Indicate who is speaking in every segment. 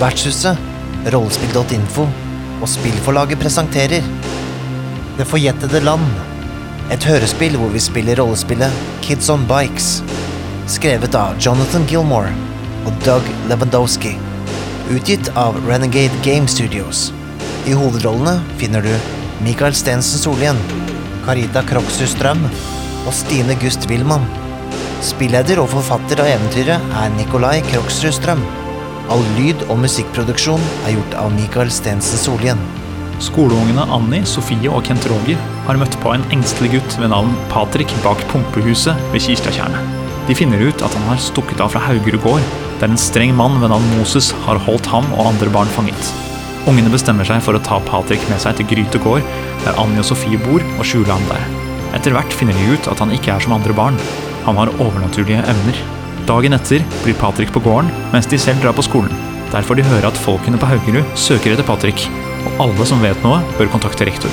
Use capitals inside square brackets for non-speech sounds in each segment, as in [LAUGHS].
Speaker 1: Vertshuset, rollespill.info og spillforlaget presenterer Det forjettede land. Et hørespill hvor vi spiller rollespillet Kids on Bikes. Skrevet av Jonathan Gilmore og Doug Lewandowski. Utgitt av Renegade Game Studios. I hovedrollene finner du Michael Stensen Solien, Carita Kroksus Strøm og Stine Gust Willmann. Spilleder og forfatter av eventyret er Nikolai Kroksrud Strøm. All lyd- og musikkproduksjon er gjort av Michael Stensen Solien.
Speaker 2: Skoleungene Anni, Sofie og Kent Roger har møtt på en engstelig gutt ved navn Patrick bak pumpehuset ved Kirstatjernet. De finner ut at han har stukket av fra Haugerud gård, der en streng mann ved navn Moses har holdt ham og andre barn fanget. Ungene bestemmer seg for å ta Patrick med seg til Gryte gård, der Anni og Sofie bor, og skjule ham der. Etter hvert finner de ut at han ikke er som andre barn. Han har overnaturlige evner. Dagen etter blir Patrick på gården, mens de selv drar på skolen. Der får de høre at folkene på Haugerud søker etter Patrick, og alle som vet noe, bør kontakte rektor.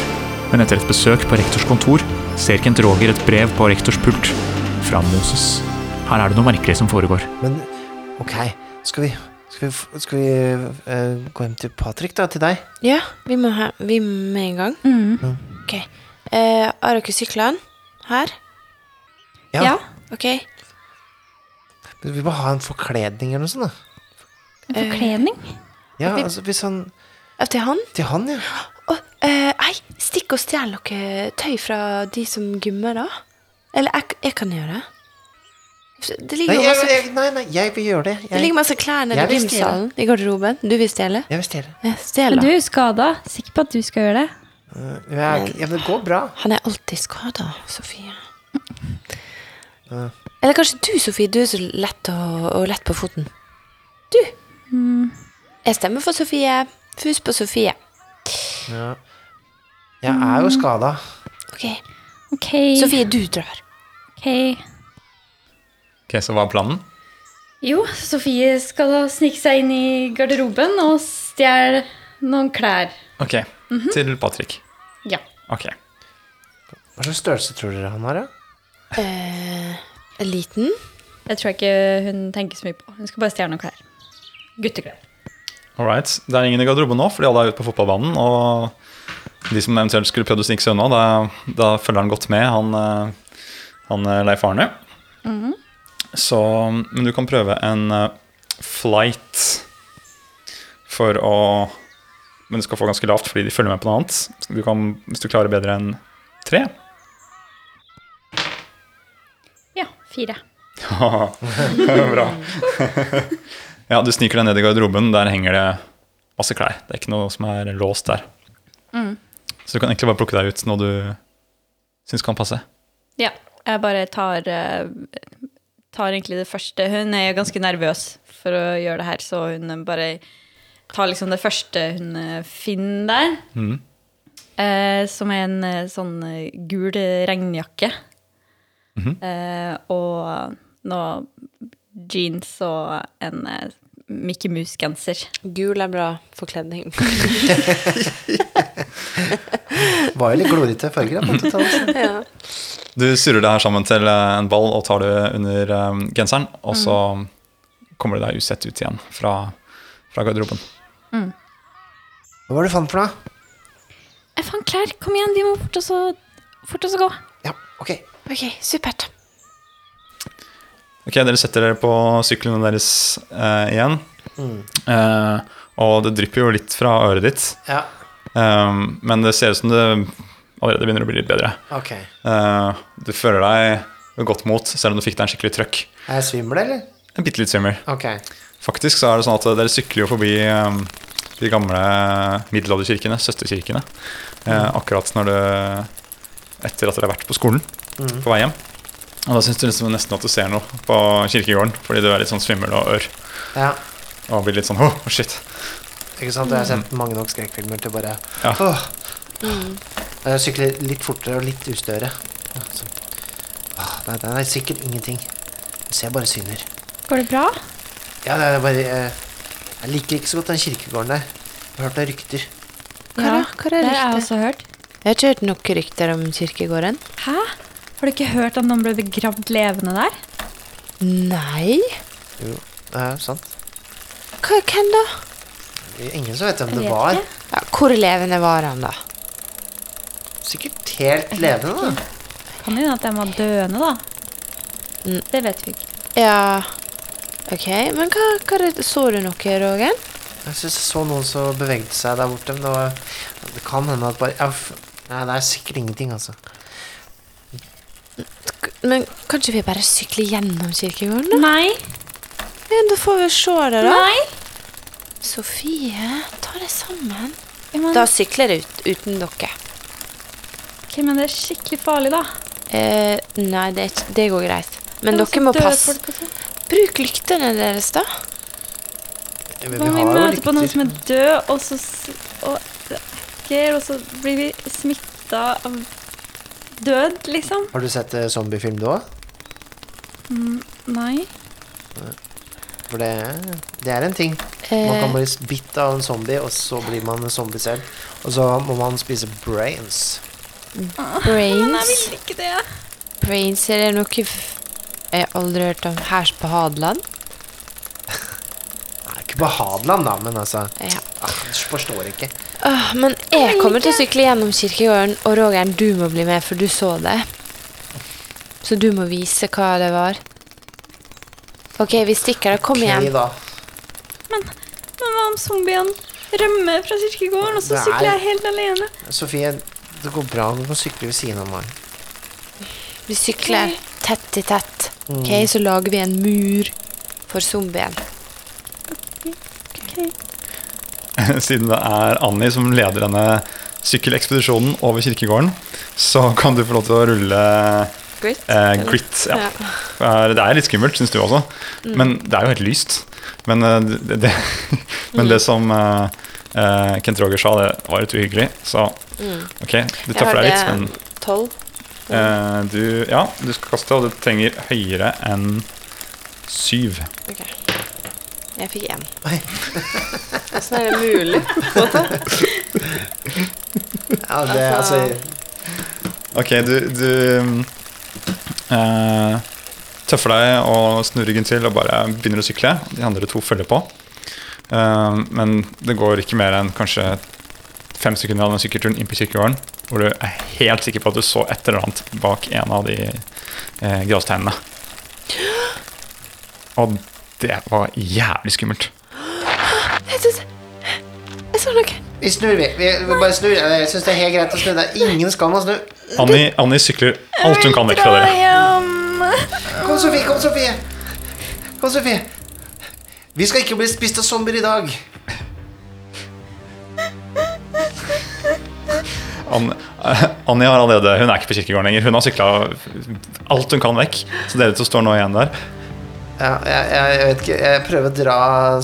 Speaker 2: Men etter et besøk på rektors kontor ser Kent Roger et brev på rektors pult fra Moses. Her er det noe merkelig som foregår.
Speaker 1: Men ok, skal vi, skal vi, f- skal vi eh, gå hjem til Patrick, da? Til deg?
Speaker 3: Ja, vi må ha vi må med en gang.
Speaker 4: Mm.
Speaker 3: Ok. Eh, har dere syklene her?
Speaker 4: Ja.
Speaker 3: Ok.
Speaker 1: Men Vi må ha en forkledning eller noe sånt. da.
Speaker 4: Forkledning?
Speaker 1: Ja, altså hvis han
Speaker 3: Eh, Til han?
Speaker 1: Til han, ja.
Speaker 3: Å, eh, Nei, stikk og stjel noe tøy fra de som gymmer, da. Eller jeg, jeg kan gjøre det. Det ligger
Speaker 1: Nei,
Speaker 3: jo
Speaker 1: jeg,
Speaker 3: masse,
Speaker 1: jeg, nei, nei, jeg vil gjøre det.
Speaker 3: det
Speaker 1: Jeg,
Speaker 3: ligger masse klær nede
Speaker 1: Jeg
Speaker 3: i
Speaker 1: vil
Speaker 3: gymsalen, i garderoben. Du vil stjele?
Speaker 1: jeg vil stjele.
Speaker 3: Eh, Stjel,
Speaker 4: Men du
Speaker 3: da.
Speaker 4: er skada. Sikker på at du skal gjøre det?
Speaker 1: Jeg er ikke- Ja, men det går bra.
Speaker 3: Han er alltid skada, Sofie. Eller kanskje du, Sofie. Du er så lett og, og lett på foten. Du.
Speaker 4: Mm.
Speaker 3: Jeg stemmer for Sofie. Fus på Sofie.
Speaker 1: Ja. Jeg er
Speaker 4: Mm.
Speaker 1: jo skada.
Speaker 3: Ok.
Speaker 4: Ok.
Speaker 3: Sofie, du drar.
Speaker 4: ok.
Speaker 2: Ok, Så hva er planen?
Speaker 4: Jo, Sofie skal da snike seg inn i garderoben og stjele noen klær.
Speaker 2: Ok, Til Patrick.
Speaker 4: Ja.
Speaker 2: Ok.
Speaker 1: Hva slags størrelse tror dere han har, da?
Speaker 3: Liten.
Speaker 4: Det tror jeg ikke hun tenker så mye på. Hun skal bare stjele noen klær. Gutteklær.
Speaker 2: All right. Det er ingen i garderoben nå, fordi alle er ute på fotballbanen. Og de som eventuelt skulle prøvd å snike seg unna, da, da følger han godt med, han, eh, han eh, Leif Arne. Så, men du kan prøve en eh, flight for å Men du skal få ganske lavt fordi de følger med på noe annet. Du kan, hvis du klarer bedre enn tre.
Speaker 4: Ja, fire.
Speaker 2: [LAUGHS] Bra. [LAUGHS] ja, du sniker deg ned i garderoben. Der henger det masse klær. Det er ikke noe som er låst der. Så du kan egentlig bare plukke deg ut noe du syns kan passe.
Speaker 4: Ja, jeg bare tar, eh, tar egentlig det første. Hun er jo ganske nervøs for å gjøre det her, så hun bare tar liksom det første hun eh, finner der.
Speaker 5: Mm.
Speaker 4: Eh, som er en eh, sånn eh, gul regnjakke.
Speaker 5: Mm-hmm.
Speaker 4: eh, og noe jeans og en eh, Mickey Mouse-genser.
Speaker 3: Gul er bra
Speaker 4: [LAUGHS]
Speaker 3: forkledning.
Speaker 1: Var jo litt glorete farger da, på 80-tallet.
Speaker 3: ja.
Speaker 2: Du surrer det her sammen til eh, en ball og tar det under eh, genseren, og så kommer du deg usett ut igjen fra, fra garderoben.
Speaker 1: Hva var det du fant for noe?
Speaker 4: Jeg fant klær! Kom igjen, vi må fort oss og fort oss og gå.
Speaker 1: Ja, ok.
Speaker 3: Ok, supert.
Speaker 2: Ok, dere setter dere på syklene deres eh, igjen.
Speaker 1: Mm.
Speaker 2: Eh, og det drypper jo litt fra øret ditt.
Speaker 1: Ja,
Speaker 2: Um, men det ser ut som det allerede begynner å bli litt bedre.
Speaker 1: ok.
Speaker 2: Uh, du føler deg ved godt mot, selv om du fikk deg en skikkelig trøkk.
Speaker 1: Er jeg svimmel, eller?
Speaker 2: En bitte litt svimmel.
Speaker 1: Ok.
Speaker 2: Faktisk så er det sånn at dere sykler jo forbi um, de gamle middelalderkirkene, søsterkirkene, eh, akkurat når du Etter at dere har vært på skolen, på vei hjem. Og da syns du liksom nesten at du ser noe på kirkegården, fordi du er litt sånn svimmel og ør.
Speaker 1: Ja,
Speaker 2: Og blir litt sånn åh, shit. [LAUGHS]
Speaker 1: ikke sant? Jeg har sett mange nok skrekkfilmer til bare...
Speaker 2: Ja.
Speaker 1: Åh.
Speaker 4: Mm.
Speaker 1: Jeg sykler litt fortere og litt ustørre. Ja, sånn. Åh, nei, det er sikkert ingenting. Jeg ser bare syner.
Speaker 4: Går det bra?
Speaker 1: Ja, det er bare... eh, Jeg liker ikke så godt den kirkegården der. Jeg har hørt noen rykter.
Speaker 3: Hva da? Hva er
Speaker 4: det har jeg
Speaker 3: ryktet?
Speaker 4: også hørt.
Speaker 3: Jeg har ikke hørt nok rykter om kirkegården.
Speaker 4: Hæ? Har du ikke hørt at noen ble begravd levende der?
Speaker 3: Nei.
Speaker 1: Jo, det er sant.
Speaker 3: Hva, hvem da?
Speaker 5: Ingen som vet hvem det
Speaker 4: vet
Speaker 5: var.
Speaker 4: ikke.
Speaker 3: Ja, hvor levende var han, da?
Speaker 5: Sikkert helt levende. da.
Speaker 4: Kan det hende at de var døende, da?
Speaker 3: Mm.
Speaker 4: Det vet vi ikke.
Speaker 3: Ja OK, men hva, hva er det- så du noe, Roger?
Speaker 5: Jeg syns jeg så noen som bevegde seg der borte. Men det, var, det kan hende at bare ja, f- Nei, det er sikkert ingenting, altså.
Speaker 3: K- Men kan ikke vi bare sykle gjennom kirkegården, da?
Speaker 4: Nei.
Speaker 3: Ja, da får vi se det, da.
Speaker 4: Nei.
Speaker 3: Sofie, ta det sammen.
Speaker 4: Men,
Speaker 3: Da sykler jeg ut uten dere.
Speaker 4: ok, men det er skikkelig farlig, da.
Speaker 3: Eh, nei, det, er ikke- det går greit. Men
Speaker 4: Det er
Speaker 3: dere
Speaker 4: så
Speaker 3: må
Speaker 4: døde
Speaker 3: passe.
Speaker 4: folk og sånn.
Speaker 3: Bruk lyktene deres, da.
Speaker 5: Vi,
Speaker 4: Hva om vi
Speaker 5: har jo
Speaker 4: møter på noen
Speaker 5: lykter.
Speaker 4: som er død, og så, s- og, ok, og så blir vi smitta av død, liksom? Mm,
Speaker 5: Har du sett eh, zombiefilm du òg?
Speaker 4: Nei.
Speaker 5: For det, det er en ting. Man kan
Speaker 3: Eh,
Speaker 5: bli bitt av en zombie, og så blir man en zombie selv. Og så må man spise brains.
Speaker 3: Ah,
Speaker 4: Men jeg
Speaker 3: brains.
Speaker 4: vil ikke det.
Speaker 3: Brains, er det noe f- jeg aldri har hørt om her på Hadeland?
Speaker 5: Nei, ikke på Hadeland, da, men altså
Speaker 3: Ja.
Speaker 5: ah, Jeg forstår ikke.
Speaker 3: Åh, Ah, men jeg kommer til å sykle gjennom kirkegården, og Roger, du må bli med, for du så det. Så du må vise hva det var. OK, vi stikker. da. Kom
Speaker 5: Ok,
Speaker 3: igjen.
Speaker 5: da.
Speaker 4: Men hva om zombien rømmer fra kirkegården, og så
Speaker 5: Nei.
Speaker 4: sykler jeg helt alene?
Speaker 5: Sofie, det går bra. Du kan sykle ved siden av meg.
Speaker 3: Vi sykler tett i tett. OK, så lager vi en mur for zombien.
Speaker 4: Ok.
Speaker 2: Siden det er Annie som leder denne sykkelekspedisjonen over kirkegården, så kan du få lov til å rulle
Speaker 3: Grit?
Speaker 2: eh, grit. Ja.
Speaker 3: Ja.
Speaker 2: Er- Det er litt skummelt, syns du også. Men det er jo helt lyst. Men, eh, det, [LAUGHS] det, men det som eh, eh, Kent Roger sa, det var litt uhyggelig. Så
Speaker 3: Mm.
Speaker 2: ok, du tøffer deg litt, men
Speaker 3: tolv.
Speaker 2: eh, du, ja, du skal kaste, og du trenger høyere enn syv.
Speaker 3: Ok. Jeg fikk én.
Speaker 5: Oi.
Speaker 3: Åssen er det mulig?
Speaker 5: [LAUGHS] Ja, det, altså,
Speaker 3: Altså-
Speaker 2: Ok, du, du mm, eh, tøffer deg og snur ryggen til og bare begynner å sykle. De andre to følger på. Eh, men det går ikke mer enn kanskje fem sekunder av den sykkelturen inn på kirkegården, hvor du er helt sikker på at du så et eller annet bak en av de eh, grasteinene. Og det var jævlig skummelt.
Speaker 3: Jeg synes- Jeg så noe.
Speaker 5: Vi snur, vi. Vi, vi bare snur. Eller, Jeg syns det er helt greit å snu. Det er ingen skam å snu.
Speaker 2: Annie, Annie sykler alt hun kan vekk fra dere.
Speaker 5: Kom, Sofie. Kom, Sofie. Kom, Sofie. Vi skal ikke bli spist av zombier i dag.
Speaker 2: An [LAUGHS] Annie har allerede, hun er ikke på kirkegården lenger. Hun har sykla alt hun kan vekk. Så dere to står nå igjen der.
Speaker 5: Ja, jeg, jeg, jeg vet ikke. Jeg prøver å dra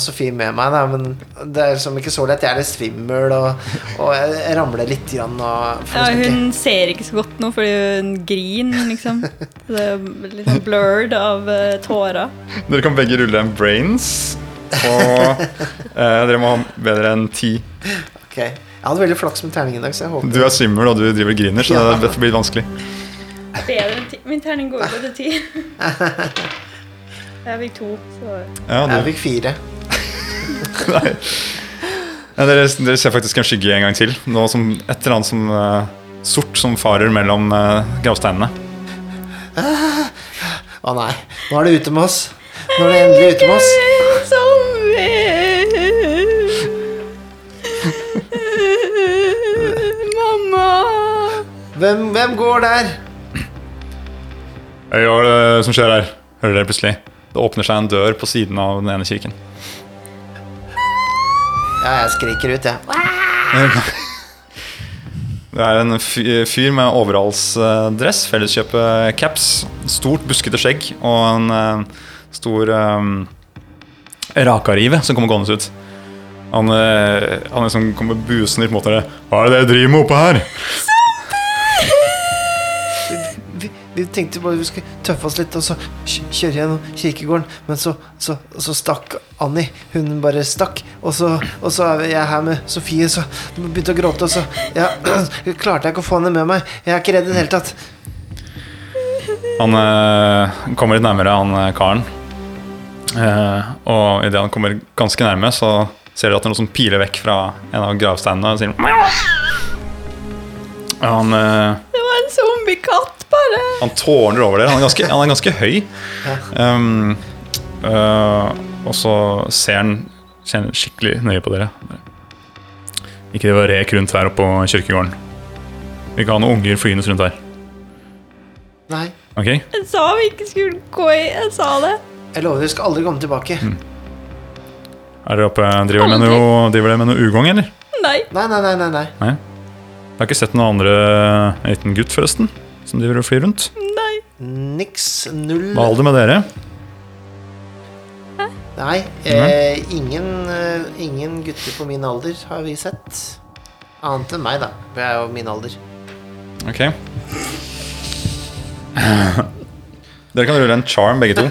Speaker 5: Sofie med meg, da, men det er liksom ikke så lett. Jeg er litt svimmel, og, og jeg ramler litt. Grann, og, for
Speaker 4: Ja,
Speaker 5: å snakke.
Speaker 4: hun ser ikke så godt nå fordi hun griner,
Speaker 5: [LAUGHS]
Speaker 4: liksom. Så Det er litt sånn blurred av eh, tårer.
Speaker 2: Dere kan begge rulle en brains. Og eh, dere må ha bedre enn ti.
Speaker 5: Ok. Jeg hadde veldig flaks med terningen i dag, så jeg håper
Speaker 2: Du er svimmel og du driver og griner, så
Speaker 5: Ja.
Speaker 2: dette blir vanskelig.
Speaker 4: Bedre enn ti. Min terning går jo til ti. [LAUGHS] Jeg fikk to, så
Speaker 2: Ja,
Speaker 5: Jeg
Speaker 2: du,
Speaker 5: fikk fire.
Speaker 2: nei. Ja, dere, dere ser faktisk en skygge en gang til. Noe som, et eller annet som eh, sort som farer mellom eh, gravsteinene.
Speaker 5: Å nei, nå er det ute med oss. Nå er det endelig ute med oss.
Speaker 4: Mamma!
Speaker 5: Hvem, hvem går der?
Speaker 2: Hva er det som skjer her? Hører dere plutselig. Det åpner seg en dør på siden av den ene kirken.
Speaker 5: Ja, jeg skriker ut, jeg.
Speaker 2: Det er en fy- fyr med overallsdress, felleskjøpet caps, stort buskete skjegg og en eh, stor um, rakarive som kommer gående ut. Han, eh, han liksom kommer busende mot dere. Hva er det dere driver med oppe her?
Speaker 5: Vi, vi tenkte bare vi skulle tøffe oss litt og så kj- kjøre gjennom kirkegården. Men så, så, så stakk Annie. Hun bare stakk. Og så, og så er jeg her med Sofie, så hun begynte å gråte. Og så ja, [CLEARS THROAT] klarte jeg ikke å få henne med meg. Jeg er ikke redd i det hele tatt.
Speaker 2: Han eh, kommer litt nærmere, han eh, karen. Eh, og idet han kommer ganske nærme, så ser dere at noe som piler vekk fra en av gravsteinene og sier Og han, eh,
Speaker 4: Det var en zombiekatt, bare!
Speaker 2: han tårner over dere. Han er ganske, han er ganske høy. Um, øh, og så ser han, ser han skikkelig nøye på dere. Ikke det var rek rundt her oppe på kirkegården. Vi kan ha noen unger flyende rundt her.
Speaker 5: Nei.
Speaker 2: Ok?
Speaker 4: Jeg sa vi ikke skulle gå i Jeg sa det.
Speaker 5: Jeg lover, jeg skal aldri komme tilbake.
Speaker 2: Mm. Er dere oppe, driver dere med
Speaker 4: Aldri.
Speaker 2: noe, driver dere med noe ugagn, eller?
Speaker 4: Nei.
Speaker 5: Nei, nei, nei, nei. nei.
Speaker 2: Jeg har ikke sett noen andre en liten gutt, forresten, som driver og flyr rundt.
Speaker 4: Nei.
Speaker 5: Niks. Null.
Speaker 2: Hva holder det med dere?
Speaker 5: Nei. Eh, ingen, eh, ingen gutter på min alder har vi sett. Annet enn meg, da. For jeg er jo min alder.
Speaker 2: Ok. Dere kan rulle en charm, begge to.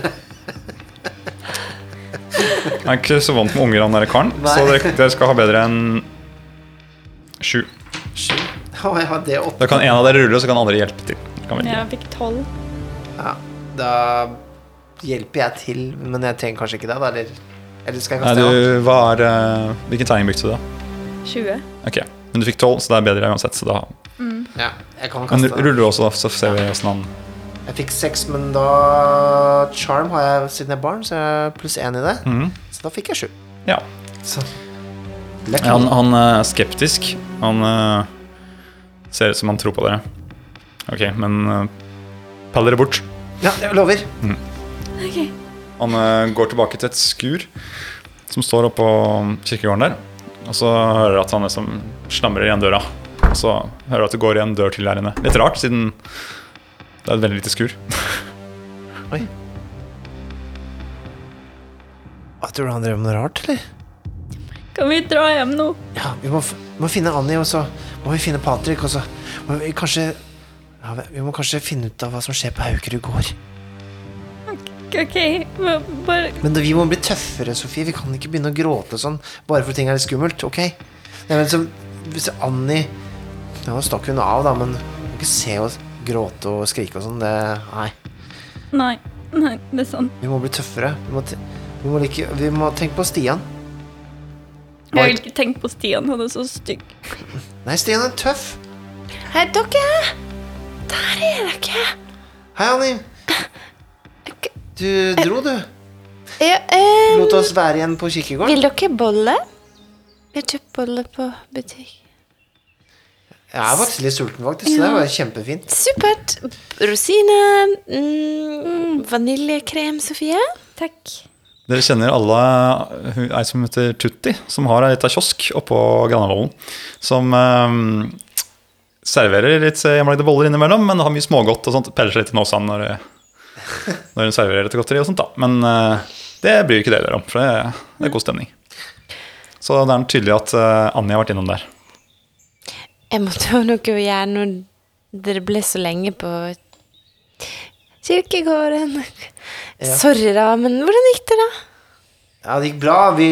Speaker 2: Jeg er ikke så vant med unger, han der karen, så
Speaker 5: Nei.
Speaker 2: dere, dere skal ha bedre enn sju.
Speaker 5: Å, jeg har det opp.
Speaker 2: Da kan en av dere rulle, så kan andre hjelpe til. Dere Kan velge.
Speaker 4: Jeg fikk tolv.
Speaker 5: Ja, da hjelper jeg til, men jeg trenger kanskje ikke det, da? Eller, eller skal jeg
Speaker 2: Nei,
Speaker 5: kaste en
Speaker 2: du, hva er, eh, hvilken tegning brukte du, da?
Speaker 4: 20.
Speaker 2: Ok, Men du fikk tolv, så det er bedre uansett. Så da.
Speaker 5: annen? Ja, jeg kan
Speaker 2: Men
Speaker 5: kaste en.
Speaker 2: ruller du også, da, så ser vi åssen han
Speaker 5: Jeg fikk seks, men da Charm har jeg siden jeg er barn, så jeg er pluss én i det.
Speaker 2: Mhm.
Speaker 5: Så da fikk jeg sju.
Speaker 2: Ja.
Speaker 5: Så
Speaker 2: Ja, Han, han eh, er skeptisk. Han eh, ser ut som han tror på dere. Ok, men uh, pell dere bort.
Speaker 5: Ja, jeg lover.
Speaker 2: Han eh, går tilbake til et skur som står oppå um, kirkegården der. Og så hører du at han liksom slamrer igjen døra. Og så hører du at det går igjen dør til der inne. Litt rart, siden det er et veldig lite skur.
Speaker 5: Hva tror du han drev med noe rart, eller?
Speaker 4: Kan vi dra hjem nå?
Speaker 5: Ja, vi må, f- må finne Annie, og så må vi finne Patrick, og så må vi kanskje ja, vi- Vi må kanskje finne ut av hva som skjer på Haukerud gård.
Speaker 4: OK, men bare
Speaker 5: Men vi må bli tøffere, Sofie. Vi kan ikke begynne å gråte sånn bare for ting er litt skummelt, OK? Nei, men så, hvis Annie Nå stakk hun av, da, men vi må ikke se oss gråte og skrike og sånn. Det Nei.
Speaker 4: Nei. Nei, det er sant.
Speaker 5: Vi må bli tøffere. Vi må, te vi må, like vi må tenke på Stian.
Speaker 4: Jeg har ikke tenkt på Stian. Han er så stygg.
Speaker 5: Nei, Stian er tøff.
Speaker 3: Hei, dere! Der er dere!
Speaker 5: Hei, Anni. Du dro, du.
Speaker 3: Ja, eh,
Speaker 5: Lot oss være igjen på kirkegården.
Speaker 3: vil dere bolle? Vi har kjøpt bolle på butikk.
Speaker 5: Jeg er faktisk litt sulten, faktisk. så Det var kjempefint.
Speaker 3: Supert! Rosiner, mm, vaniljekrem, Sofie.
Speaker 4: Takk.
Speaker 2: Dere kjenner alle hun- ei som heter Tutti, som har ei lita kiosk oppå Granavolden. Som eh, serverer litt eh, hjemmelagde boller innimellom, men har mye smågodt og sånt. Peller seg litt i nåsa når, eh, når hun serverer etter godteri og sånt, da. Men eh, det bryr ikke dere dere om, for det, det er god stemning. Så det er tydelig at eh, Anja har vært innom der.
Speaker 3: Jeg måtte ha noe å gjøre når dere ble så lenge på kirkegården. Sorry, da, men hvordan gikk det, da?
Speaker 5: Ja, det gikk bra. Vi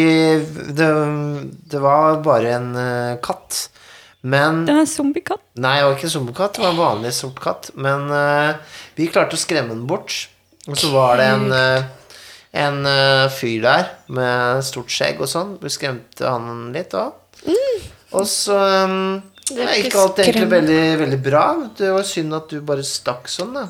Speaker 5: Det, det var bare en eh, katt. Men
Speaker 4: Det er en zombiekatt.
Speaker 5: Nei, det var ikke en zombiekatt. Det var en vanlig sort katt. Men eh, vi klarte å skremme den bort. Og så var det en, eh, en eh, fyr der med stort skjegg og sånn. Vi skremte han litt òg. Og så um,
Speaker 3: Mm. er
Speaker 5: ja, gikk
Speaker 3: ikke
Speaker 5: alt egentlig
Speaker 3: skremmende.
Speaker 5: veldig, veldig bra. Det var synd at du bare stakk sånn, da.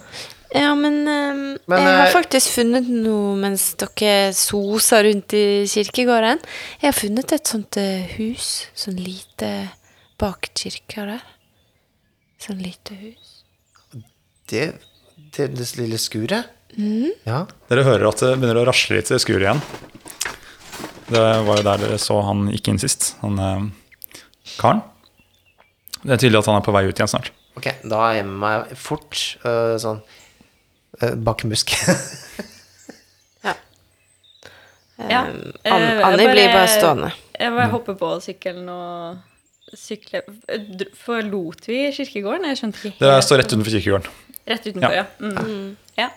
Speaker 3: Ja, men, ehm,
Speaker 5: Men,
Speaker 3: jeg har
Speaker 5: eh,
Speaker 3: faktisk funnet noe mens dere sosa rundt i kirkegården. Jeg har funnet et sånt eh, hus, sånn lite bak kirka der. Sånn lite hus.
Speaker 5: Det, det, det lille skuret.
Speaker 3: Mm.
Speaker 5: Ja.
Speaker 2: Dere hører at det begynner å rasle litt i skuret igjen. Det var jo der dere så han gikk inn sist, han eh, karen. Det er tydelig at han er på vei ut igjen snart.
Speaker 5: Ok, da gjemmer jeg meg fort øh, sånn øh, bak en busk.
Speaker 4: Ja. eh,
Speaker 3: Ann-
Speaker 4: jeg
Speaker 3: Annie blir Ehm, bare stående.
Speaker 4: Jeg bare hopper på sykkelen og sykler Dr- Forlot vi kirkegården? Jeg skjønte ikke
Speaker 2: Dere står rett utenfor kirkegården.
Speaker 4: Rett utenfor, ja. Mm. ja.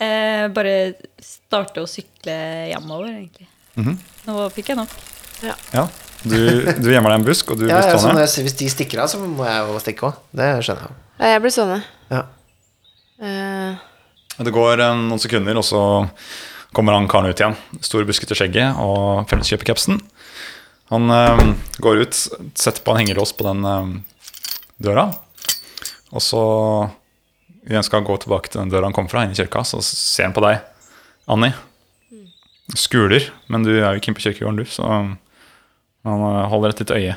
Speaker 4: Eh, bare starte å sykle hjemover, egentlig. Nå fikk jeg nok.
Speaker 2: Ja, du, du gjemmer deg i en busk, og du
Speaker 5: [LAUGHS] ja,
Speaker 2: blir
Speaker 5: ja, sånn,
Speaker 2: stående.
Speaker 5: hvis hvis de stikker av, så må jeg jo stikke òg. Det skjønner jeg jo.
Speaker 3: Ja, jeg blir sånne.
Speaker 5: Ja.
Speaker 3: Eh,
Speaker 2: Det går eh, noen sekunder, og så kommer han karen ut igjen. Stor buskete skjegget og felleskjøpercapsen. Han eh, går ut, setter på en hengelås på den eh, døra, og så Idet han skal gå tilbake til den døra han kom fra, inn i kirka, så ser han på deg, Annie. Skuler, men du er jo ikke inne på kirkegården, du, så han eh, holder et lite øye.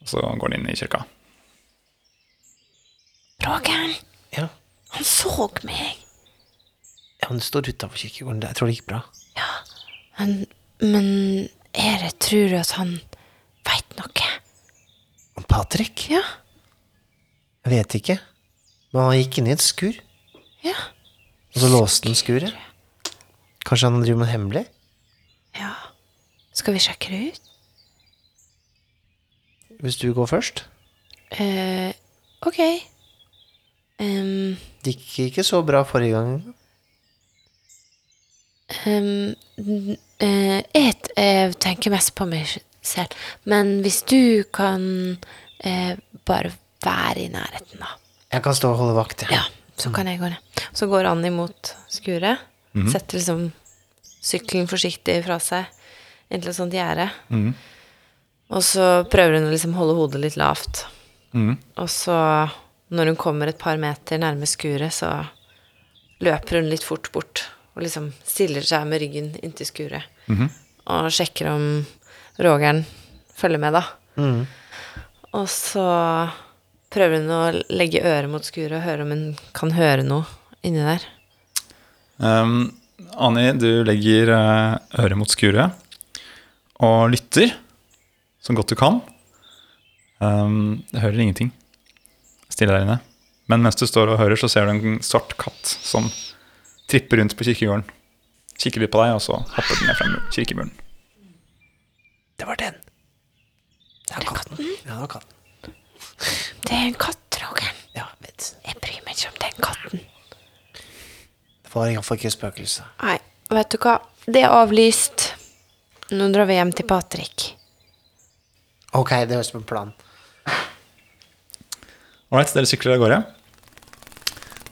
Speaker 2: Og så går han inn i kirka.
Speaker 3: Rogeren,
Speaker 5: Ja,
Speaker 3: han så meg.
Speaker 5: ja men det står utafor kirkegården. Jeg tror det gikk bra.
Speaker 3: Han, men Ere tror at han veit noe.
Speaker 5: Og Patrick?
Speaker 3: Ja,
Speaker 5: Jeg vet ikke. Men han gikk inn i et skur,
Speaker 3: ja.
Speaker 5: og så låste han skuret. Kanskje han driver med en hemmelig?
Speaker 3: ja. Skal vi sjekke det ut?
Speaker 5: Hvis du går først?
Speaker 3: Eh, ok. Ehm,
Speaker 5: Det gikk ikke så bra forrige gang.
Speaker 3: ehm, n- eh, jeg, t- jeg tenker mest på meg sj- selv. Men hvis du kan eh, bare være i nærheten, da.
Speaker 5: Jeg kan stå og holde vakt, jeg.
Speaker 3: Ja, så kan jeg gå ned. Så går Annie mot skuret.
Speaker 2: Mhm.
Speaker 3: Setter liksom sykkelen forsiktig fra seg inntil et sånt gjerde.
Speaker 2: Mhm.
Speaker 3: Og så prøver hun å liksom holde hodet litt lavt. Og så, når hun kommer et par meter nærme skuret, så løper hun litt fort bort. Og liksom stiller seg med ryggen inntil skuret. Og sjekker om Rogeren følger med, da. Og så prøver hun å legge øret mot skuret og høre om hun kan høre noe inni der.
Speaker 2: Um, Annie, du legger eh, øret mot skuret og lytter så godt du kan. Um, jeg hører ingenting. Stille der inne. Men mens du står og hører, så ser du en svart katt som tripper rundt på kirkegården. Kikker litt på deg, og så hopper den ned fra mur- kirkemuren.
Speaker 5: Det var den. Det er katten. Ja, det var katten.
Speaker 3: Det er en katt, Roger.
Speaker 5: Ja, vet.
Speaker 3: Jeg bryr meg ikke om den katten.
Speaker 5: Det var iallfall ikke spøkelse.
Speaker 3: Nei, vet du hva? Det er avlyst. Nå drar vi hjem til Patrick.
Speaker 5: Ok, det høres ut som en plan.
Speaker 2: Ålreit, dere sykler av gårde.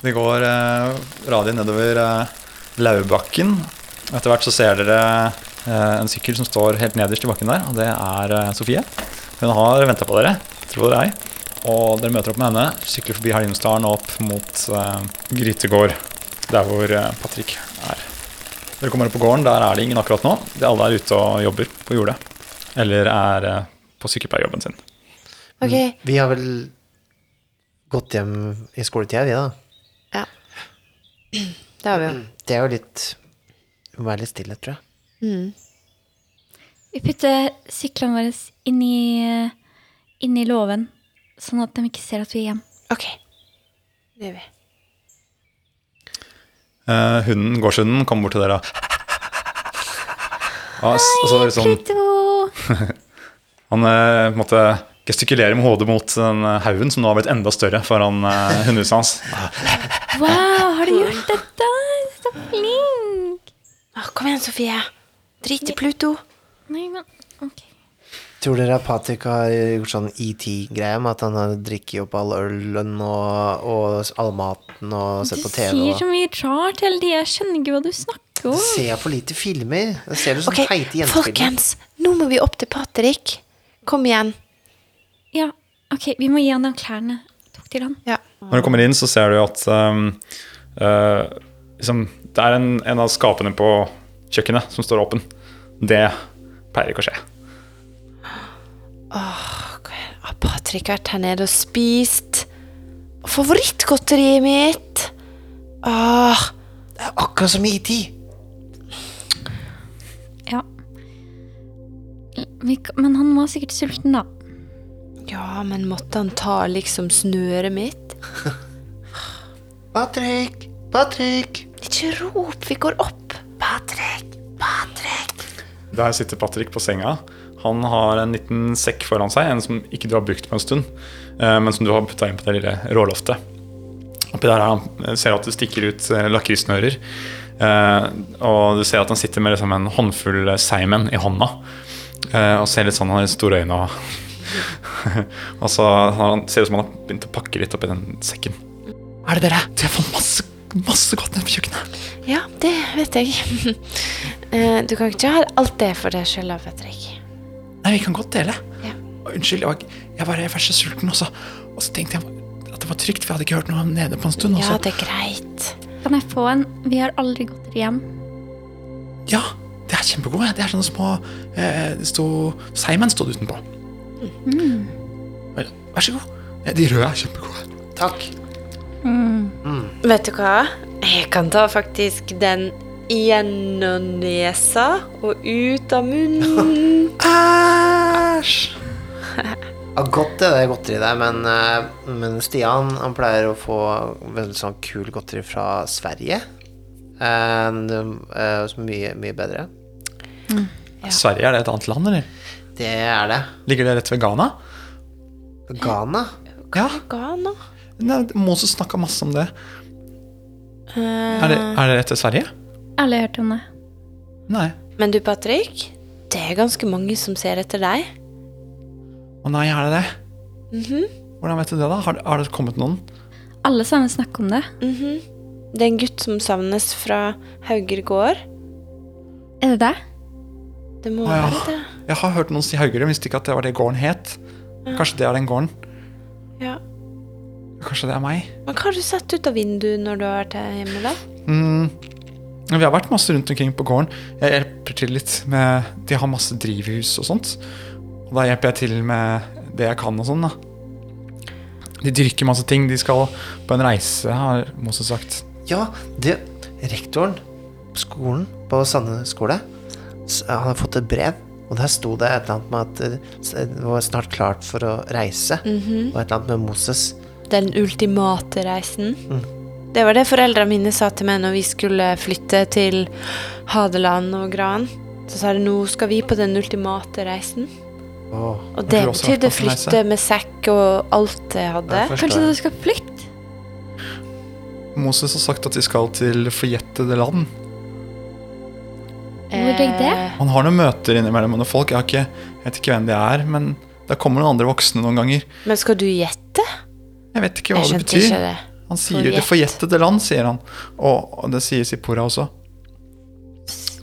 Speaker 2: Det går eh, radig nedover eh, Laubakken. Etter hvert så ser dere eh, en sykkel som står helt nederst i bakken der, og det er eh, Sofie. Hun har venta på dere, tror jeg. Og dere møter opp med henne, sykler forbi Hallingsdalen og opp mot eh, Grytegård, der hvor eh, Patrick er. Dere kommer opp på gården, der er det ingen akkurat nå. De alle er ute og jobber på jordet. Eller er eh, på sykepleierjobben sin.
Speaker 3: Ok,
Speaker 5: Vi har vel gått hjem i skoletida, vi, da.
Speaker 3: ja. [CLEARS THROAT] Det har vi jo.
Speaker 5: Det er jo litt Vi må være litt stille, tror jeg.
Speaker 6: Vi putter syklene våre inn i, inn i låven, sånn at de ikke ser at vi er hjemme.
Speaker 3: Ok, det gjør vi.
Speaker 2: Eh, hunden, gårdshunden, kommer bort til dere og og, s- og så er det sånn,
Speaker 6: Pluto!
Speaker 2: Han eh, på en måte gestikulerer med hodet mot den eh, haugen som nå har blitt enda større foran eh, hundehuset hans.
Speaker 6: Wow, har du gjort dette? Så flink!
Speaker 3: Å, kom igjen, Sofie. Drit i Pluto.
Speaker 6: Nei, men ok.
Speaker 5: Tror dere at Patrick har gjort sånn ET-greie med at han har drikket opp all ølen og, og all maten og
Speaker 6: Du
Speaker 5: sett på TV?
Speaker 6: sier
Speaker 5: Og...
Speaker 6: så mye rart hele tida. Jeg skjønner ikke hva du snakker
Speaker 5: Du
Speaker 6: om.
Speaker 5: ser for lite filmer. Da ser du sånne
Speaker 3: Ok,
Speaker 5: teite jentefilmer.
Speaker 3: folkens, nå må vi opp til Patrick. Kom igjen.
Speaker 6: Ja, ok, vi må gi han de klærne. Tok til han.
Speaker 3: Ja.
Speaker 2: Når du kommer inn, så ser du at ehm, eh, liksom, det er en, en av skapene på kjøkkenet som står åpen. Det pleier ikke å skje.
Speaker 3: Har Patrick vært her nede og spist favorittgodteriet mitt? Åh,
Speaker 5: Det er akkurat som i
Speaker 1: E
Speaker 5: ET.
Speaker 6: Ja. Vi, kan- men han var sikkert sulten, da.
Speaker 3: ja, men måtte han ta liksom snøret mitt?
Speaker 5: Patrick! Patrick!
Speaker 3: Ikke rop, vi går opp. Patrick, Patrick.
Speaker 2: Der sitter Patrick på senga. Han har en liten sekk foran seg, en som ikke du har brukt på en stund, eh, men som du har putta inn på det lille råloftet. Oppi der er han, eh, ser du at det stikker ut eh, lakrissnører, eh, og du ser at han sitter med liksom en håndfull seigmenn i hånda, eh, og ser litt sånn, han har litt store øyne og [LAUGHS] Og så har han, ser det ut som han har begynt å pakke litt oppi den sekken. Er det dere? De har fått masse, masse godt nede på kjøkkenet.
Speaker 3: Ja, det [LAUGHS] vet jeg. Eh, du kan ikke ha alt det for deg sjøl, Patrick.
Speaker 2: Nei, Nei, vi kan godt dele.
Speaker 3: Ja.
Speaker 2: Og Unnskyld, jeg var, jeg var, jeg var så sulten, og så, og så tenkte jeg at det var trygt, for jeg hadde ikke hørt noe om nede på en stund. og
Speaker 3: Ja,
Speaker 2: så-
Speaker 3: det er greit.
Speaker 6: Kan jeg få en? Vi har aldri godteri hjem.
Speaker 2: ja, det er kjempegode. Det er sånne små eh, det sto, Seigmenn stod utenpå.
Speaker 3: Mhm.
Speaker 2: Vel, Vær så god. Eh, De røde er kjempegode.
Speaker 5: Takk.
Speaker 3: Vet du hva? Jeg kan ta faktisk den gjennom nesa og ut av munnen. [LAUGHS]
Speaker 2: Æsj!
Speaker 5: Ja, godt det der godteriet der, men, eh, men Stian han pleier å få veldig sånn kul godteri fra Sverige. En, eh, som er mye, mye bedre.
Speaker 2: Sverige, er det et annet land, eller?
Speaker 5: Det er det.
Speaker 2: Ligger det rett ved Ghana?
Speaker 5: Ghana.
Speaker 2: Ja.
Speaker 3: Hva nå?
Speaker 2: Nei, Moses snakka masse om det.
Speaker 3: Eh.
Speaker 2: Er det, er det rett ved Sverige?
Speaker 6: Alle har hørt om det.
Speaker 2: Nei.
Speaker 3: Men du, Patrick, det er ganske mange som ser etter deg.
Speaker 2: Å nei, er det det?
Speaker 3: Mhm.
Speaker 2: Hvordan vet du det, da? Har, har det kommet noen?
Speaker 6: Alle sammen snakker om det.
Speaker 3: Det er en gutt som savnes fra Hauger gård.
Speaker 6: Er det det?
Speaker 3: Det må
Speaker 2: Å, ja.
Speaker 3: være det.
Speaker 2: Jeg har hørt noen si Haugerud, men visste ikke at det var det gården het. Kanskje det er den gården?
Speaker 3: Ja.
Speaker 2: Kanskje det er meg?
Speaker 3: Men hva har du sett ut av vinduet når du har vært her hjemme, da?
Speaker 2: Mm. Vi har vært masse rundt omkring på gården. Jeg hjelper til litt med De har masse drivhus og sånt. Og da hjelper jeg til med det jeg kan og sånn, da. De dyrker masse ting. De skal på en reise, har Moses sagt.
Speaker 5: Ja, det Rektoren på skolen, på Sande skole, s- han har fått et brev. Og der sto det et eller annet med at eh, s- det var snart klart for å reise. Og et eller annet med Moses.
Speaker 3: Den ultimate reisen.
Speaker 2: Mm.
Speaker 3: Det var det foreldrene mine sa til meg når vi skulle flytte til Hadeland og Gran. Så sa de nå skal vi på den ultimate reisen.
Speaker 5: Åh,
Speaker 3: Og
Speaker 2: du
Speaker 3: det
Speaker 2: har også vært på
Speaker 3: betydde
Speaker 2: en reise?
Speaker 3: flytte med sekk og alt jeg hadde.
Speaker 5: jeg forstår.
Speaker 6: Kanskje du skal flytte?
Speaker 2: Moses har sagt at de skal til forjettede land.
Speaker 6: Hvor er det?
Speaker 3: Eh,
Speaker 2: Han har noen møter innimellom med noen folk. Jeg, har ikke, jeg vet ikke hvem det er, men det kommer noen andre voksne noen ganger.
Speaker 3: Men skal du gjette?
Speaker 2: Jeg vet ikke hva
Speaker 3: Jeg
Speaker 2: det
Speaker 3: skjønte
Speaker 2: betyr.
Speaker 3: ikke det.
Speaker 2: Han sier det forjettede land, sier han. Og, og det sier Sippora også.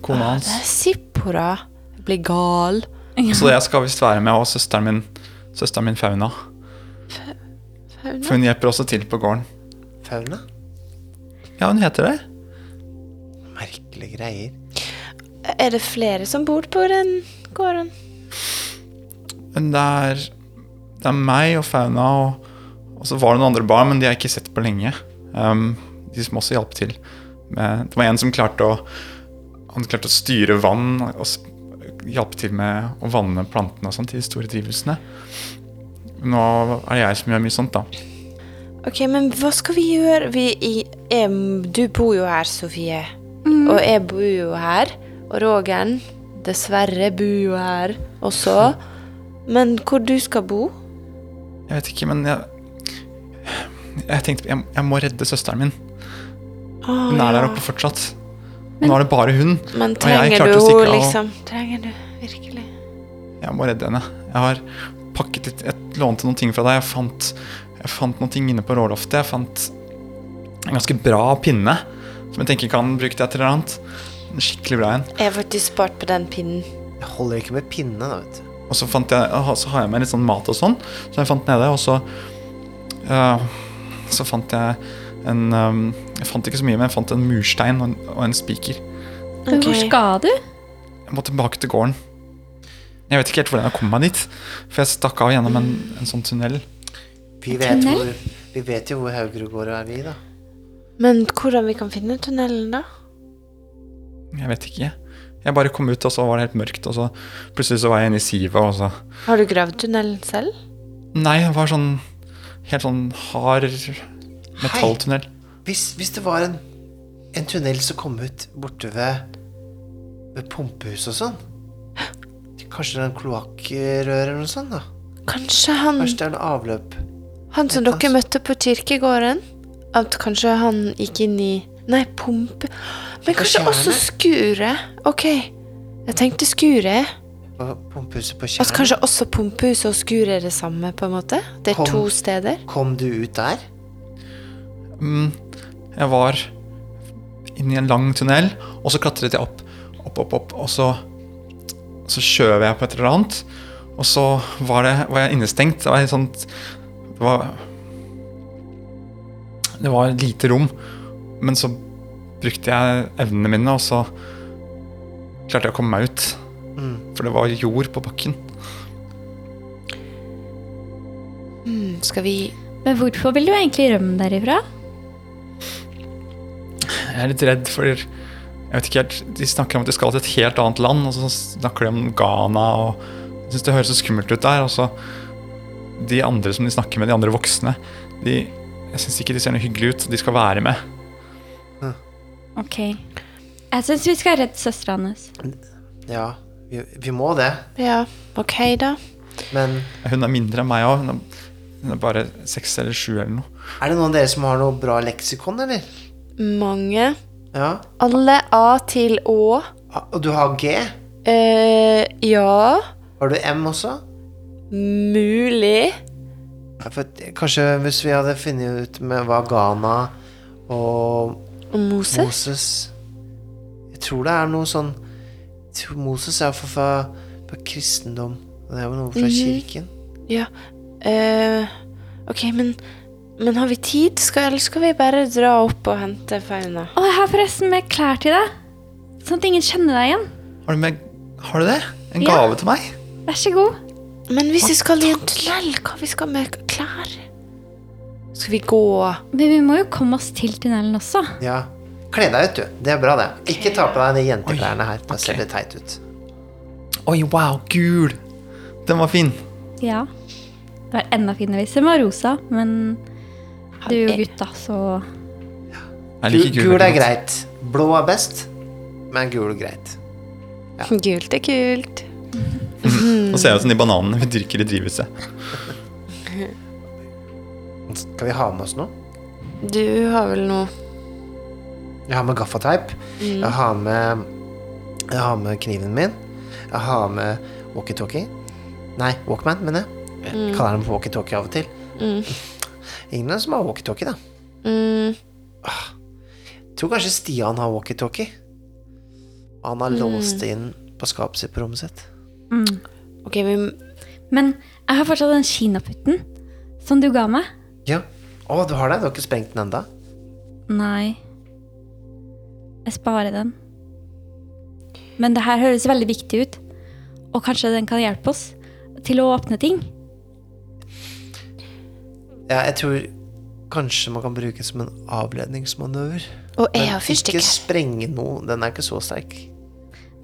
Speaker 2: Kona hans.
Speaker 3: Det er Sippora. Jeg blir gal.
Speaker 2: Så jeg skal visst være med, og søsteren min, søsteren min Fauna. For hun hjelper også til på gården.
Speaker 5: fauna?
Speaker 2: Ja, hun heter det.
Speaker 5: Merkelige greier.
Speaker 3: Er det flere som bor på den gården?
Speaker 2: Men det er, det er meg og Fauna, og, og så var det noen andre barn, men de har jeg ikke sett på lenge. Ehm, de som også hjalp til. Med, det var en som klarte å, han klarte å styre vann, og s- hjalp til med å vanne plantene og sånt i de store drivelsene. Nå er det jeg som gjør mye sånt, da.
Speaker 3: Ok, men hva skal vi gjøre? Vi i, jeg, du bor jo her, Sofie. Og jeg bor jo her. Og Rogen, dessverre, bor jo her også. Men hvor du skal bo?
Speaker 2: Jeg vet ikke, men jeg Jeg tenkte jeg, jeg må redde søsteren min.
Speaker 3: Ah,
Speaker 2: Hun er der
Speaker 3: ja.
Speaker 2: oppe fortsatt. Og nå er det bare hun.
Speaker 3: Men
Speaker 2: og jeg
Speaker 3: trenger
Speaker 2: klarte
Speaker 3: du
Speaker 2: å stikke
Speaker 3: henne,
Speaker 2: av.
Speaker 3: liksom? Trenger du virkelig?
Speaker 2: Jeg må redde henne. Jeg har pakket litt Jeg lånte noen ting fra deg. Jeg fant, jeg fant noen ting inne på råloftet. Jeg fant en ganske bra pinne som jeg tenker kan bruke til et eller annet. En skikkelig bra en.
Speaker 3: Jeg har faktisk spart på den pinnen.
Speaker 5: Jeg holder ikke med pinne, da, vet du.
Speaker 2: Og så, fant jeg, og så har jeg med litt sånn mat og sånn, som jeg fant nede. Og så eh, Så fant jeg en eh, Jeg fant ikke så mye, men jeg fant en murstein og en, og en spiker.
Speaker 6: Men Hvor
Speaker 3: Ok.
Speaker 6: skal du?
Speaker 2: Jeg må tilbake til gården. Jeg vet ikke helt hvordan jeg kom meg dit, for jeg stakk av gjennom en, en sånn tunnel.
Speaker 5: Vi vet,
Speaker 6: Tunnel?
Speaker 5: hvor, vi vet jo hvor Haugerud går, og er vi, da.
Speaker 3: Men hvordan vi kan finne tunnelen, da?
Speaker 2: Jeg vet ikke. Jeg bare kom ut, og så var det helt mørkt, og så plutselig så var jeg inne i sivet, og så
Speaker 3: Har du gravd tunnelen selv?
Speaker 2: Nei, det var sånn helt sånn hard metalltunnel.
Speaker 5: Hvis, hvis det var en, en tunnel som kom ut borte ved, ved pumpehuset og sånn Kanskje det er en kloakkrør eller noe sånt? da
Speaker 3: Kanskje han
Speaker 5: Kanskje det er en avløp?
Speaker 3: Han som
Speaker 5: Et
Speaker 3: dere
Speaker 5: glass.
Speaker 3: møtte på kirkegården At kanskje han gikk inn i Nei, pumpe Men kanskje
Speaker 5: tjernet?
Speaker 3: også skuret Ok, jeg tenkte skuret
Speaker 5: På pumpehuset på
Speaker 3: At
Speaker 5: Tjern?
Speaker 3: Altså, kanskje også pumpehuset og skuret er det samme på en måte Det er
Speaker 5: Kom.
Speaker 3: to steder
Speaker 5: Kom du ut der?
Speaker 2: Mm, jeg var inne i en lang tunnel, og så klatret jeg opp, opp, opp, opp, og så så skjøv jeg på et eller annet, Og så var, det, var jeg innestengt. Det var et sånt Det var Det var et lite rom. Men så brukte jeg evnene mine, og så klarte jeg å komme meg ut. For det var jord på bakken.
Speaker 3: Mm, Skal vi
Speaker 6: Men hvorfor vil du egentlig rømme derifra?
Speaker 2: Jeg er litt redd for Jeg vet ikke helt De snakker om at de skal til et helt annet land, og så snakker de om Ghana og Jeg syns det høres så skummelt ut der. Og så De andre som de snakker med, de andre voksne, de Jeg syns ikke de ser noe hyggelig ut. De skal være med.
Speaker 6: Ok. Jeg syns vi skal redde søstera hans.
Speaker 5: Ja, vi, vi må det.
Speaker 3: Ja, OK, da.
Speaker 5: Men
Speaker 2: Hun er mindre enn meg òg. Hun, er- hun er bare seks eller sju eller noe.
Speaker 5: er det noen av dere som har noe bra leksikon, eller?
Speaker 3: Mange.
Speaker 5: Ja.
Speaker 3: Alle A til Å.
Speaker 5: Ah, Og du har G.
Speaker 3: Eh, ja
Speaker 5: Har du M også?
Speaker 3: Mulig.
Speaker 5: Ja, for, kanskje hvis vi hadde funnet ut med hva Ghana og
Speaker 3: Og Moses?
Speaker 5: Moses Jeg tror det er noe sånn jeg tror Moses er fra, fra, fra kristendom. Det er jo noe fra kirken.
Speaker 3: Ja. eh, ok, men Men har vi tid, skal, eller skal vi bare dra opp og hente fauna?
Speaker 6: Å, jeg har forresten med klær til deg. Sånn at ingen kjenner deg igjen.
Speaker 2: Har du, med, har du det? En
Speaker 6: Ja.
Speaker 2: gave til meg?
Speaker 6: Vær så god.
Speaker 3: Men hvis vi skal i en tunnel, hva vi skal med klær? Skal vi gå
Speaker 6: Men vi må jo komme oss til tunnelen også.
Speaker 5: Ja. Kle deg ut, du. Det er bra, det. Ikke ta på deg de jenteklærne her. Da ser det teit ut.
Speaker 2: Oi, wow, gul! Den var fin.
Speaker 6: Ja. Det var enda finere hvis den var rosa, men du er jo gutt, da, så
Speaker 2: Jeg
Speaker 5: Gul,
Speaker 2: liker gul.
Speaker 5: gul
Speaker 2: veldig
Speaker 5: er
Speaker 2: godt.
Speaker 5: greit. Blå er best, men gul er greit.
Speaker 3: [LAUGHS] Gult er kult.
Speaker 2: Nå ser jeg ut som de bananene vi dyrker i drivhuset.
Speaker 5: Skal vi ha med oss noe?
Speaker 3: Du har vel noe
Speaker 5: Jeg har med gaffateip. Jeg har med Jeg har med kniven min. Jeg har med walkietalkie. Nei, Walkman, mener jeg. Jeg kaller den for walkietalkie av og til. Ingen av dem som har walkietalkie, da.
Speaker 3: mm,
Speaker 5: Jeg tror kanskje Stian har walkietalkie. Og han har låst det inn på skapet sitt på rommet sitt.
Speaker 3: OK, vi
Speaker 6: mm. Men jeg har fortsatt den kinaputten som du ga meg.
Speaker 5: Ja. Å, du har det? Du har ikke sprengt den enda?
Speaker 6: Nei. Jeg sparer den. Men det her høres veldig viktig ut, og kanskje den kan hjelpe oss til å åpne ting.
Speaker 5: Ja, jeg tror kanskje man kan bruke det som en avledningsmanøver.
Speaker 3: Og jeg
Speaker 5: Men
Speaker 3: har
Speaker 5: ikke
Speaker 3: fyrstikker.
Speaker 5: sprenge noe. Den er ikke så sterk.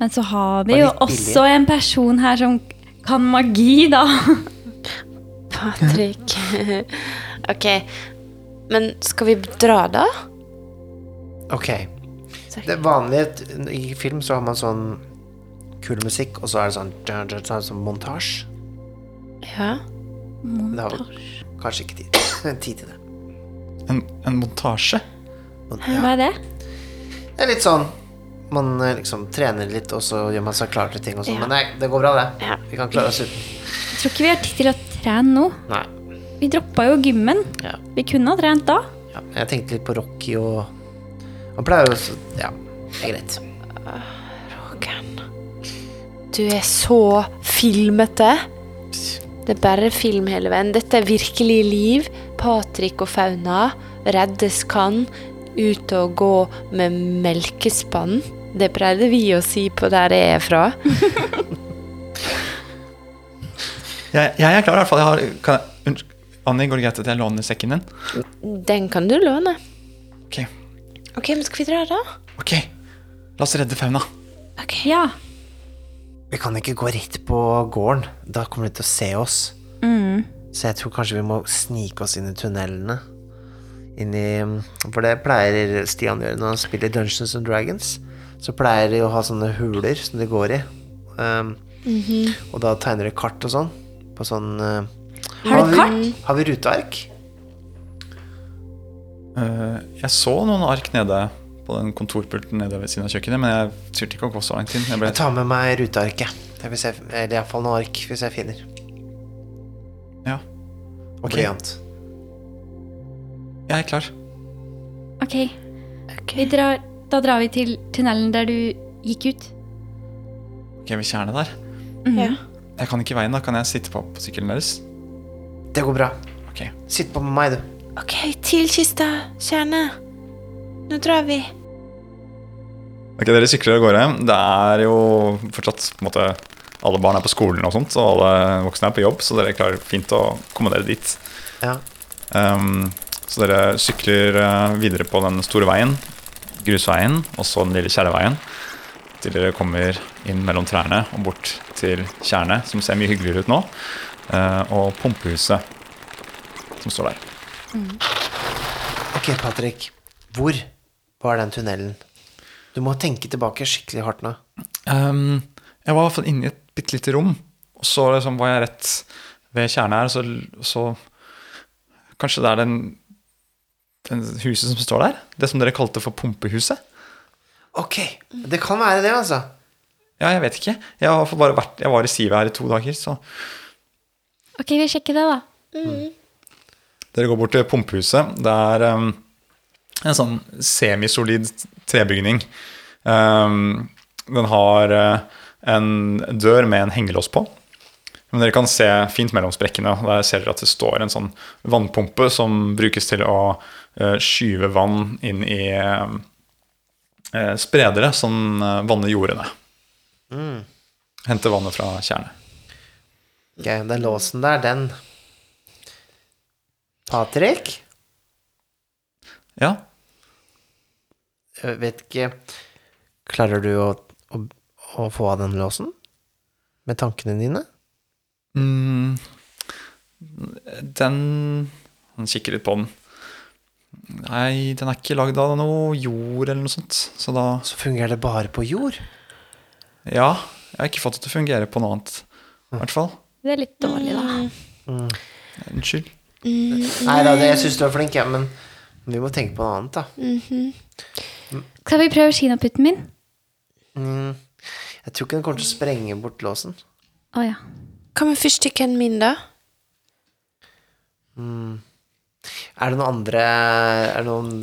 Speaker 6: Men så har
Speaker 5: Var
Speaker 6: vi jo
Speaker 5: litt billig.
Speaker 6: også en person her som kan magi, da.
Speaker 3: Patrick. [LAUGHS] OK. Men skal vi dra, da?
Speaker 5: Ok.
Speaker 3: Sorry.
Speaker 5: Det vanlige t- i film så har man sånn kul musikk, og så er det sånn, dun, dun, dun, sånn montasje.
Speaker 3: Ja.
Speaker 5: Men Det har vi kanskje ikke tid, [LAUGHS] tid til det.
Speaker 2: En, en montasje?
Speaker 5: Men, ja.
Speaker 6: Hva er det?
Speaker 5: Det er litt sånn man eh, liksom trener litt, og så gjør man seg klar til ting og sånn.
Speaker 3: Ja.
Speaker 5: Men nei, det går bra, det.
Speaker 3: Ja.
Speaker 5: Vi kan klare oss uten.
Speaker 6: Jeg tror ikke vi har tid til å trene nå.
Speaker 5: Nei.
Speaker 6: Vi droppa jo gymmen.
Speaker 5: Ja.
Speaker 6: Vi kunne ha trent da.
Speaker 5: Ja. Jeg tenkte litt på Rocky og Han pleier jo også Ja, det er greit.
Speaker 3: Håkan. Du er så filmete. Det er bare film hele veien. Dette er virkelig liv. Patrick og Fauna reddes kan ut og gå med melkespann. Det pleide vi å si på der jeg er fra.
Speaker 2: Jeg, jeg er klar, i hvert fall. Jeg har, kan jeg, unnskyld, Anni, går det greit at jeg låner sekken din?
Speaker 3: Den kan du låne.
Speaker 2: Ok.
Speaker 3: Ok, men skal vi dra da?
Speaker 2: Ok, la oss redde fauna.
Speaker 6: Ja.
Speaker 5: Vi kan ikke gå rett på gården. Da kommer de til å se oss.
Speaker 6: Mm.
Speaker 5: Så jeg tror kanskje vi må snike oss inn i tunnelene. Inn i, for det pleier Stian å gjøre når han spiller Dungeons and Dragons. Så pleier de å ha sånne huler som de går i. Um,
Speaker 3: Mhm.
Speaker 5: Og da tegner de kart og sånn. På sånn uh,
Speaker 6: Har du kart?
Speaker 5: Vi, har vi ruteark?
Speaker 2: Eh, jeg så noen ark nede på den kontorpulten nede ved siden av kjøkkenet, men jeg turte ikke å gå så langt inn. Jeg ble,
Speaker 5: Jeg tar med meg rutearket. Det Hvis jeg, eller iallfall noe ark, hvis jeg finner.
Speaker 2: ja,
Speaker 5: Og
Speaker 2: Ok.
Speaker 5: blyant.
Speaker 2: jeg er klar.
Speaker 6: Ok. Vi drar, da drar vi til tunnelen der du gikk ut. Mhm.
Speaker 2: Ok, vi kjerner der.
Speaker 3: Ja.
Speaker 2: Jeg kan ikke veien, da. Kan jeg sitte på, på sykkelen deres?
Speaker 5: Det går bra.
Speaker 2: Ok.
Speaker 5: Sitt på med meg, du.
Speaker 3: OK, til kista, kjerne. Nå drar vi.
Speaker 2: Ok, Dere sykler av gårde. Det er jo fortsatt på en måte, Alle barn er på skolen, og sånt, og alle voksne er på jobb, så dere klarer fint å komme dere dit.
Speaker 5: Ja.
Speaker 2: Ehm, så dere sykler eh, videre på den store veien, grusveien, og så den lille kjerreveien. Til dere kommer inn mellom trærne og bort til tjernet, som ser mye hyggeligere ut nå. eh, og pumpehuset som står der.
Speaker 5: Ok, Patrick. Hvor var den tunnelen? Du må tenke tilbake skikkelig hardt nå.
Speaker 2: Ehm, jeg var i hvert fall inne i et bitte lite rom, og så liksom var jeg rett ved kjernet her, så, så Kanskje det er den, den huset som står der? Det som dere kalte for pumpehuset?
Speaker 5: Ok, det kan være det, altså.
Speaker 2: Ja, jeg vet ikke. Jeg, har i hvert fall bare vært, jeg var i sivet her i to dager, så
Speaker 6: Ok, vi sjekker det, da.
Speaker 2: Dere går bort til pumpehuset. Det er um, en sånn semisolid trebygning. Um, den har uh, en dør med en hengelås på. Men dere kan se fint mellom sprekkene. og Der ser dere at det står en sånn vannpumpe som brukes til å uh, skyve vann inn i um, eh, spredere som uh, vanner jordene. Hente vannet fra tjernet.
Speaker 5: Ok, Den låsen der, den Patrick?
Speaker 2: Ja,
Speaker 5: Jeg vet ikke Klarer du å, å, å få av den låsen? Med tankene dine?
Speaker 2: Mm, den Han kikker litt på den. Nei, den er ikke lagd av noe jord eller noe sånt. Så da
Speaker 5: Så fungerer det bare på jord?
Speaker 2: Ja, jeg har ikke fått det til å fungere på noe annet. I hvert fall.
Speaker 6: Det er litt dårlig, da.
Speaker 3: Mm.
Speaker 2: Unnskyld.
Speaker 5: Mm. Nei da, det- jeg syns du er flink, jeg, men vi må tenke på noe annet, da.
Speaker 3: mm,
Speaker 6: Skal vi prøve kinaputten min?
Speaker 5: Mm. Jeg tror ikke den kommer til å sprenge bort låsen.
Speaker 6: Å ja.
Speaker 3: Hva med fyrstikken min, da?
Speaker 5: Er det noen andre Er det noen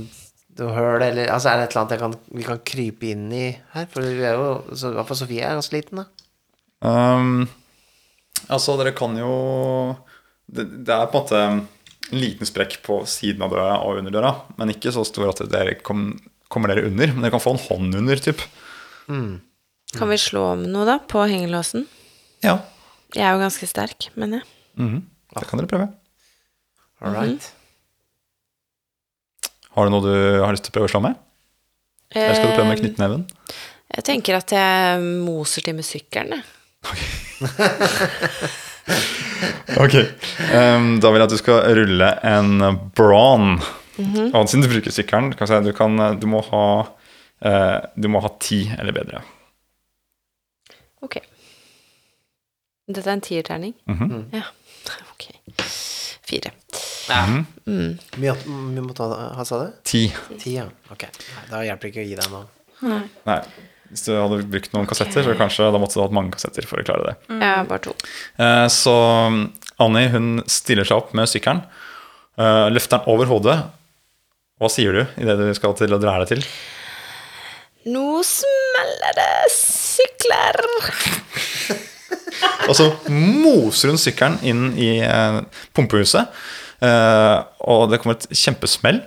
Speaker 5: noe høl, eller altså, Er det et eller annet jeg kan, vi kan krype inn i her? For vi er jo, så, i hvert fall Sofie er ganske liten, da.
Speaker 2: Ehm, altså, dere kan jo det, det er på en måte en liten sprekk på siden av døra og under døra, men ikke så stor at dere kom, kommer dere under. Men dere kan få en hånd under, typ.
Speaker 3: Kan vi slå om noe, da? På hengelåsen?
Speaker 2: Ja,
Speaker 3: Jeg er jo ganske sterk, mener jeg.
Speaker 2: Mhm. det kan dere prøve.
Speaker 5: All right.
Speaker 2: Har du noe du har lyst til å prøve å slå med? Eller skal du prøve med knyttneven?
Speaker 3: Eh, Jeg tenker at jeg moser til med sykkelen, jeg.
Speaker 2: Ok. Ehm, da vil jeg at du skal rulle en brawn. Og siden du bruker sykkelen, kan jeg si, du, kan, du, må ha, eh, du må ha ti eller bedre.
Speaker 3: Ok. Dette er en tierterning? [LAUGHS]
Speaker 2: Mhm.
Speaker 3: Ja. Ok. Fire.
Speaker 2: Mhm.
Speaker 3: Mm.
Speaker 5: Vi, vi må ta Hva sa du?
Speaker 2: Ti.
Speaker 5: Ti, ja. Ok. Nei, da hjelper det ikke å gi deg nå.
Speaker 2: Nei. Hvis du hadde brukt noen kassetter, så kanskje da måtte du hatt mange kassetter for å klare det.
Speaker 3: Jeg har bare to.
Speaker 2: Eh, Så Annie hun stiller seg opp med sykkelen, eh, løfter den over hodet. Hva sier du idet du skal til å dra deg til?
Speaker 3: Nå smeller det sykler!
Speaker 2: Og så moser hun sykkelen inn i eh, pumpehuset. eh, og det kommer et kjempesmell.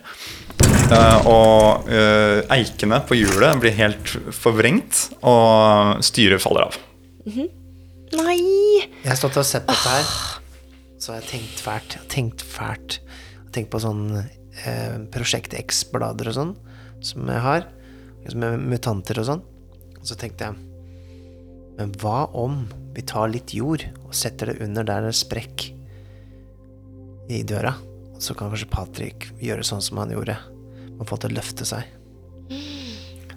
Speaker 2: eh, og eh, eikene på hjulet blir helt forvrengt, og styret faller av.
Speaker 3: Nei!
Speaker 5: Jeg har stått og sett på dette her, så har jeg tenkt fælt. Jeg har tenkt fælt. Jeg har tenkt på sånn eh, Prosjekt X-blader og sånn, som jeg har. Som er mutanter og sånn. Og så tenkte jeg Men hva om vi tar litt jord og setter det under der det er sprekk i døra? Og så kan kanskje Patrick gjøre sånn som han gjorde. Man får til å løfte seg.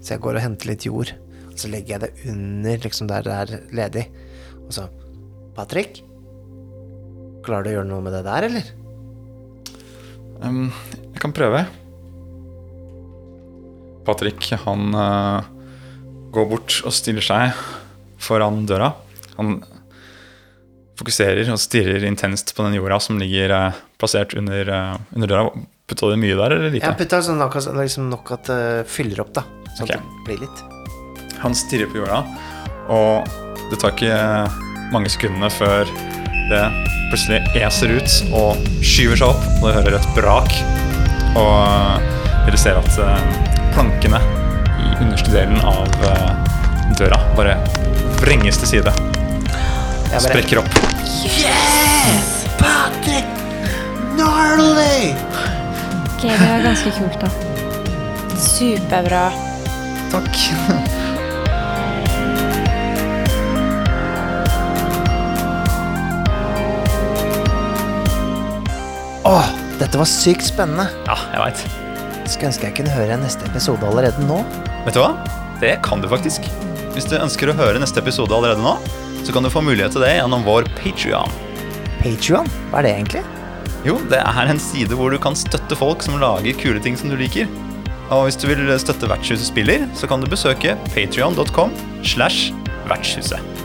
Speaker 5: Så jeg går og henter litt jord, og så legger jeg det under liksom der det er ledig. Og så Patrick? Klarer du å gjøre noe med det der, eller?
Speaker 2: Um, jeg kan prøve. Patrick, han eh, går bort og stiller seg foran døra. Han fokuserer og stirrer intenst på den jorda som ligger eh, plassert under, eh, under døra. Putta du mye der, eller
Speaker 5: Jeg har
Speaker 2: lite?
Speaker 5: putta sånn nok, liksom nok at det fyller opp, da. Sånn
Speaker 2: Ok.
Speaker 5: at det blir litt.
Speaker 2: Han stirrer på jorda, og det tar ikke mange sekundene før det plutselig eser ut og skyver seg opp, og du hører et brak. Og dere ser at eh, plankene i underste delen av eh, døra bare vrenges til side.
Speaker 5: Jeg bare
Speaker 2: Sprekker opp.
Speaker 5: Patrick! Gnarly!
Speaker 6: Ok, det var ganske kult, da.
Speaker 3: Superbra.
Speaker 2: Takk.
Speaker 1: Åh, dette var sykt spennende.
Speaker 2: Ja, jeg veit.
Speaker 1: Skulle ønske jeg kunne høre neste episode allerede nå.
Speaker 2: Vet du hva? Det kan du faktisk. Hvis du ønsker å høre neste episode allerede nå, så kan du få mulighet til det gjennom vår Patreon.
Speaker 1: Patreon, hva er det egentlig?
Speaker 2: Jo, det er en side hvor du kan støtte folk som lager kule ting som du liker. Og hvis du vil støtte Vertshuset spiller, så kan du besøke patreon.com slash vertshuset.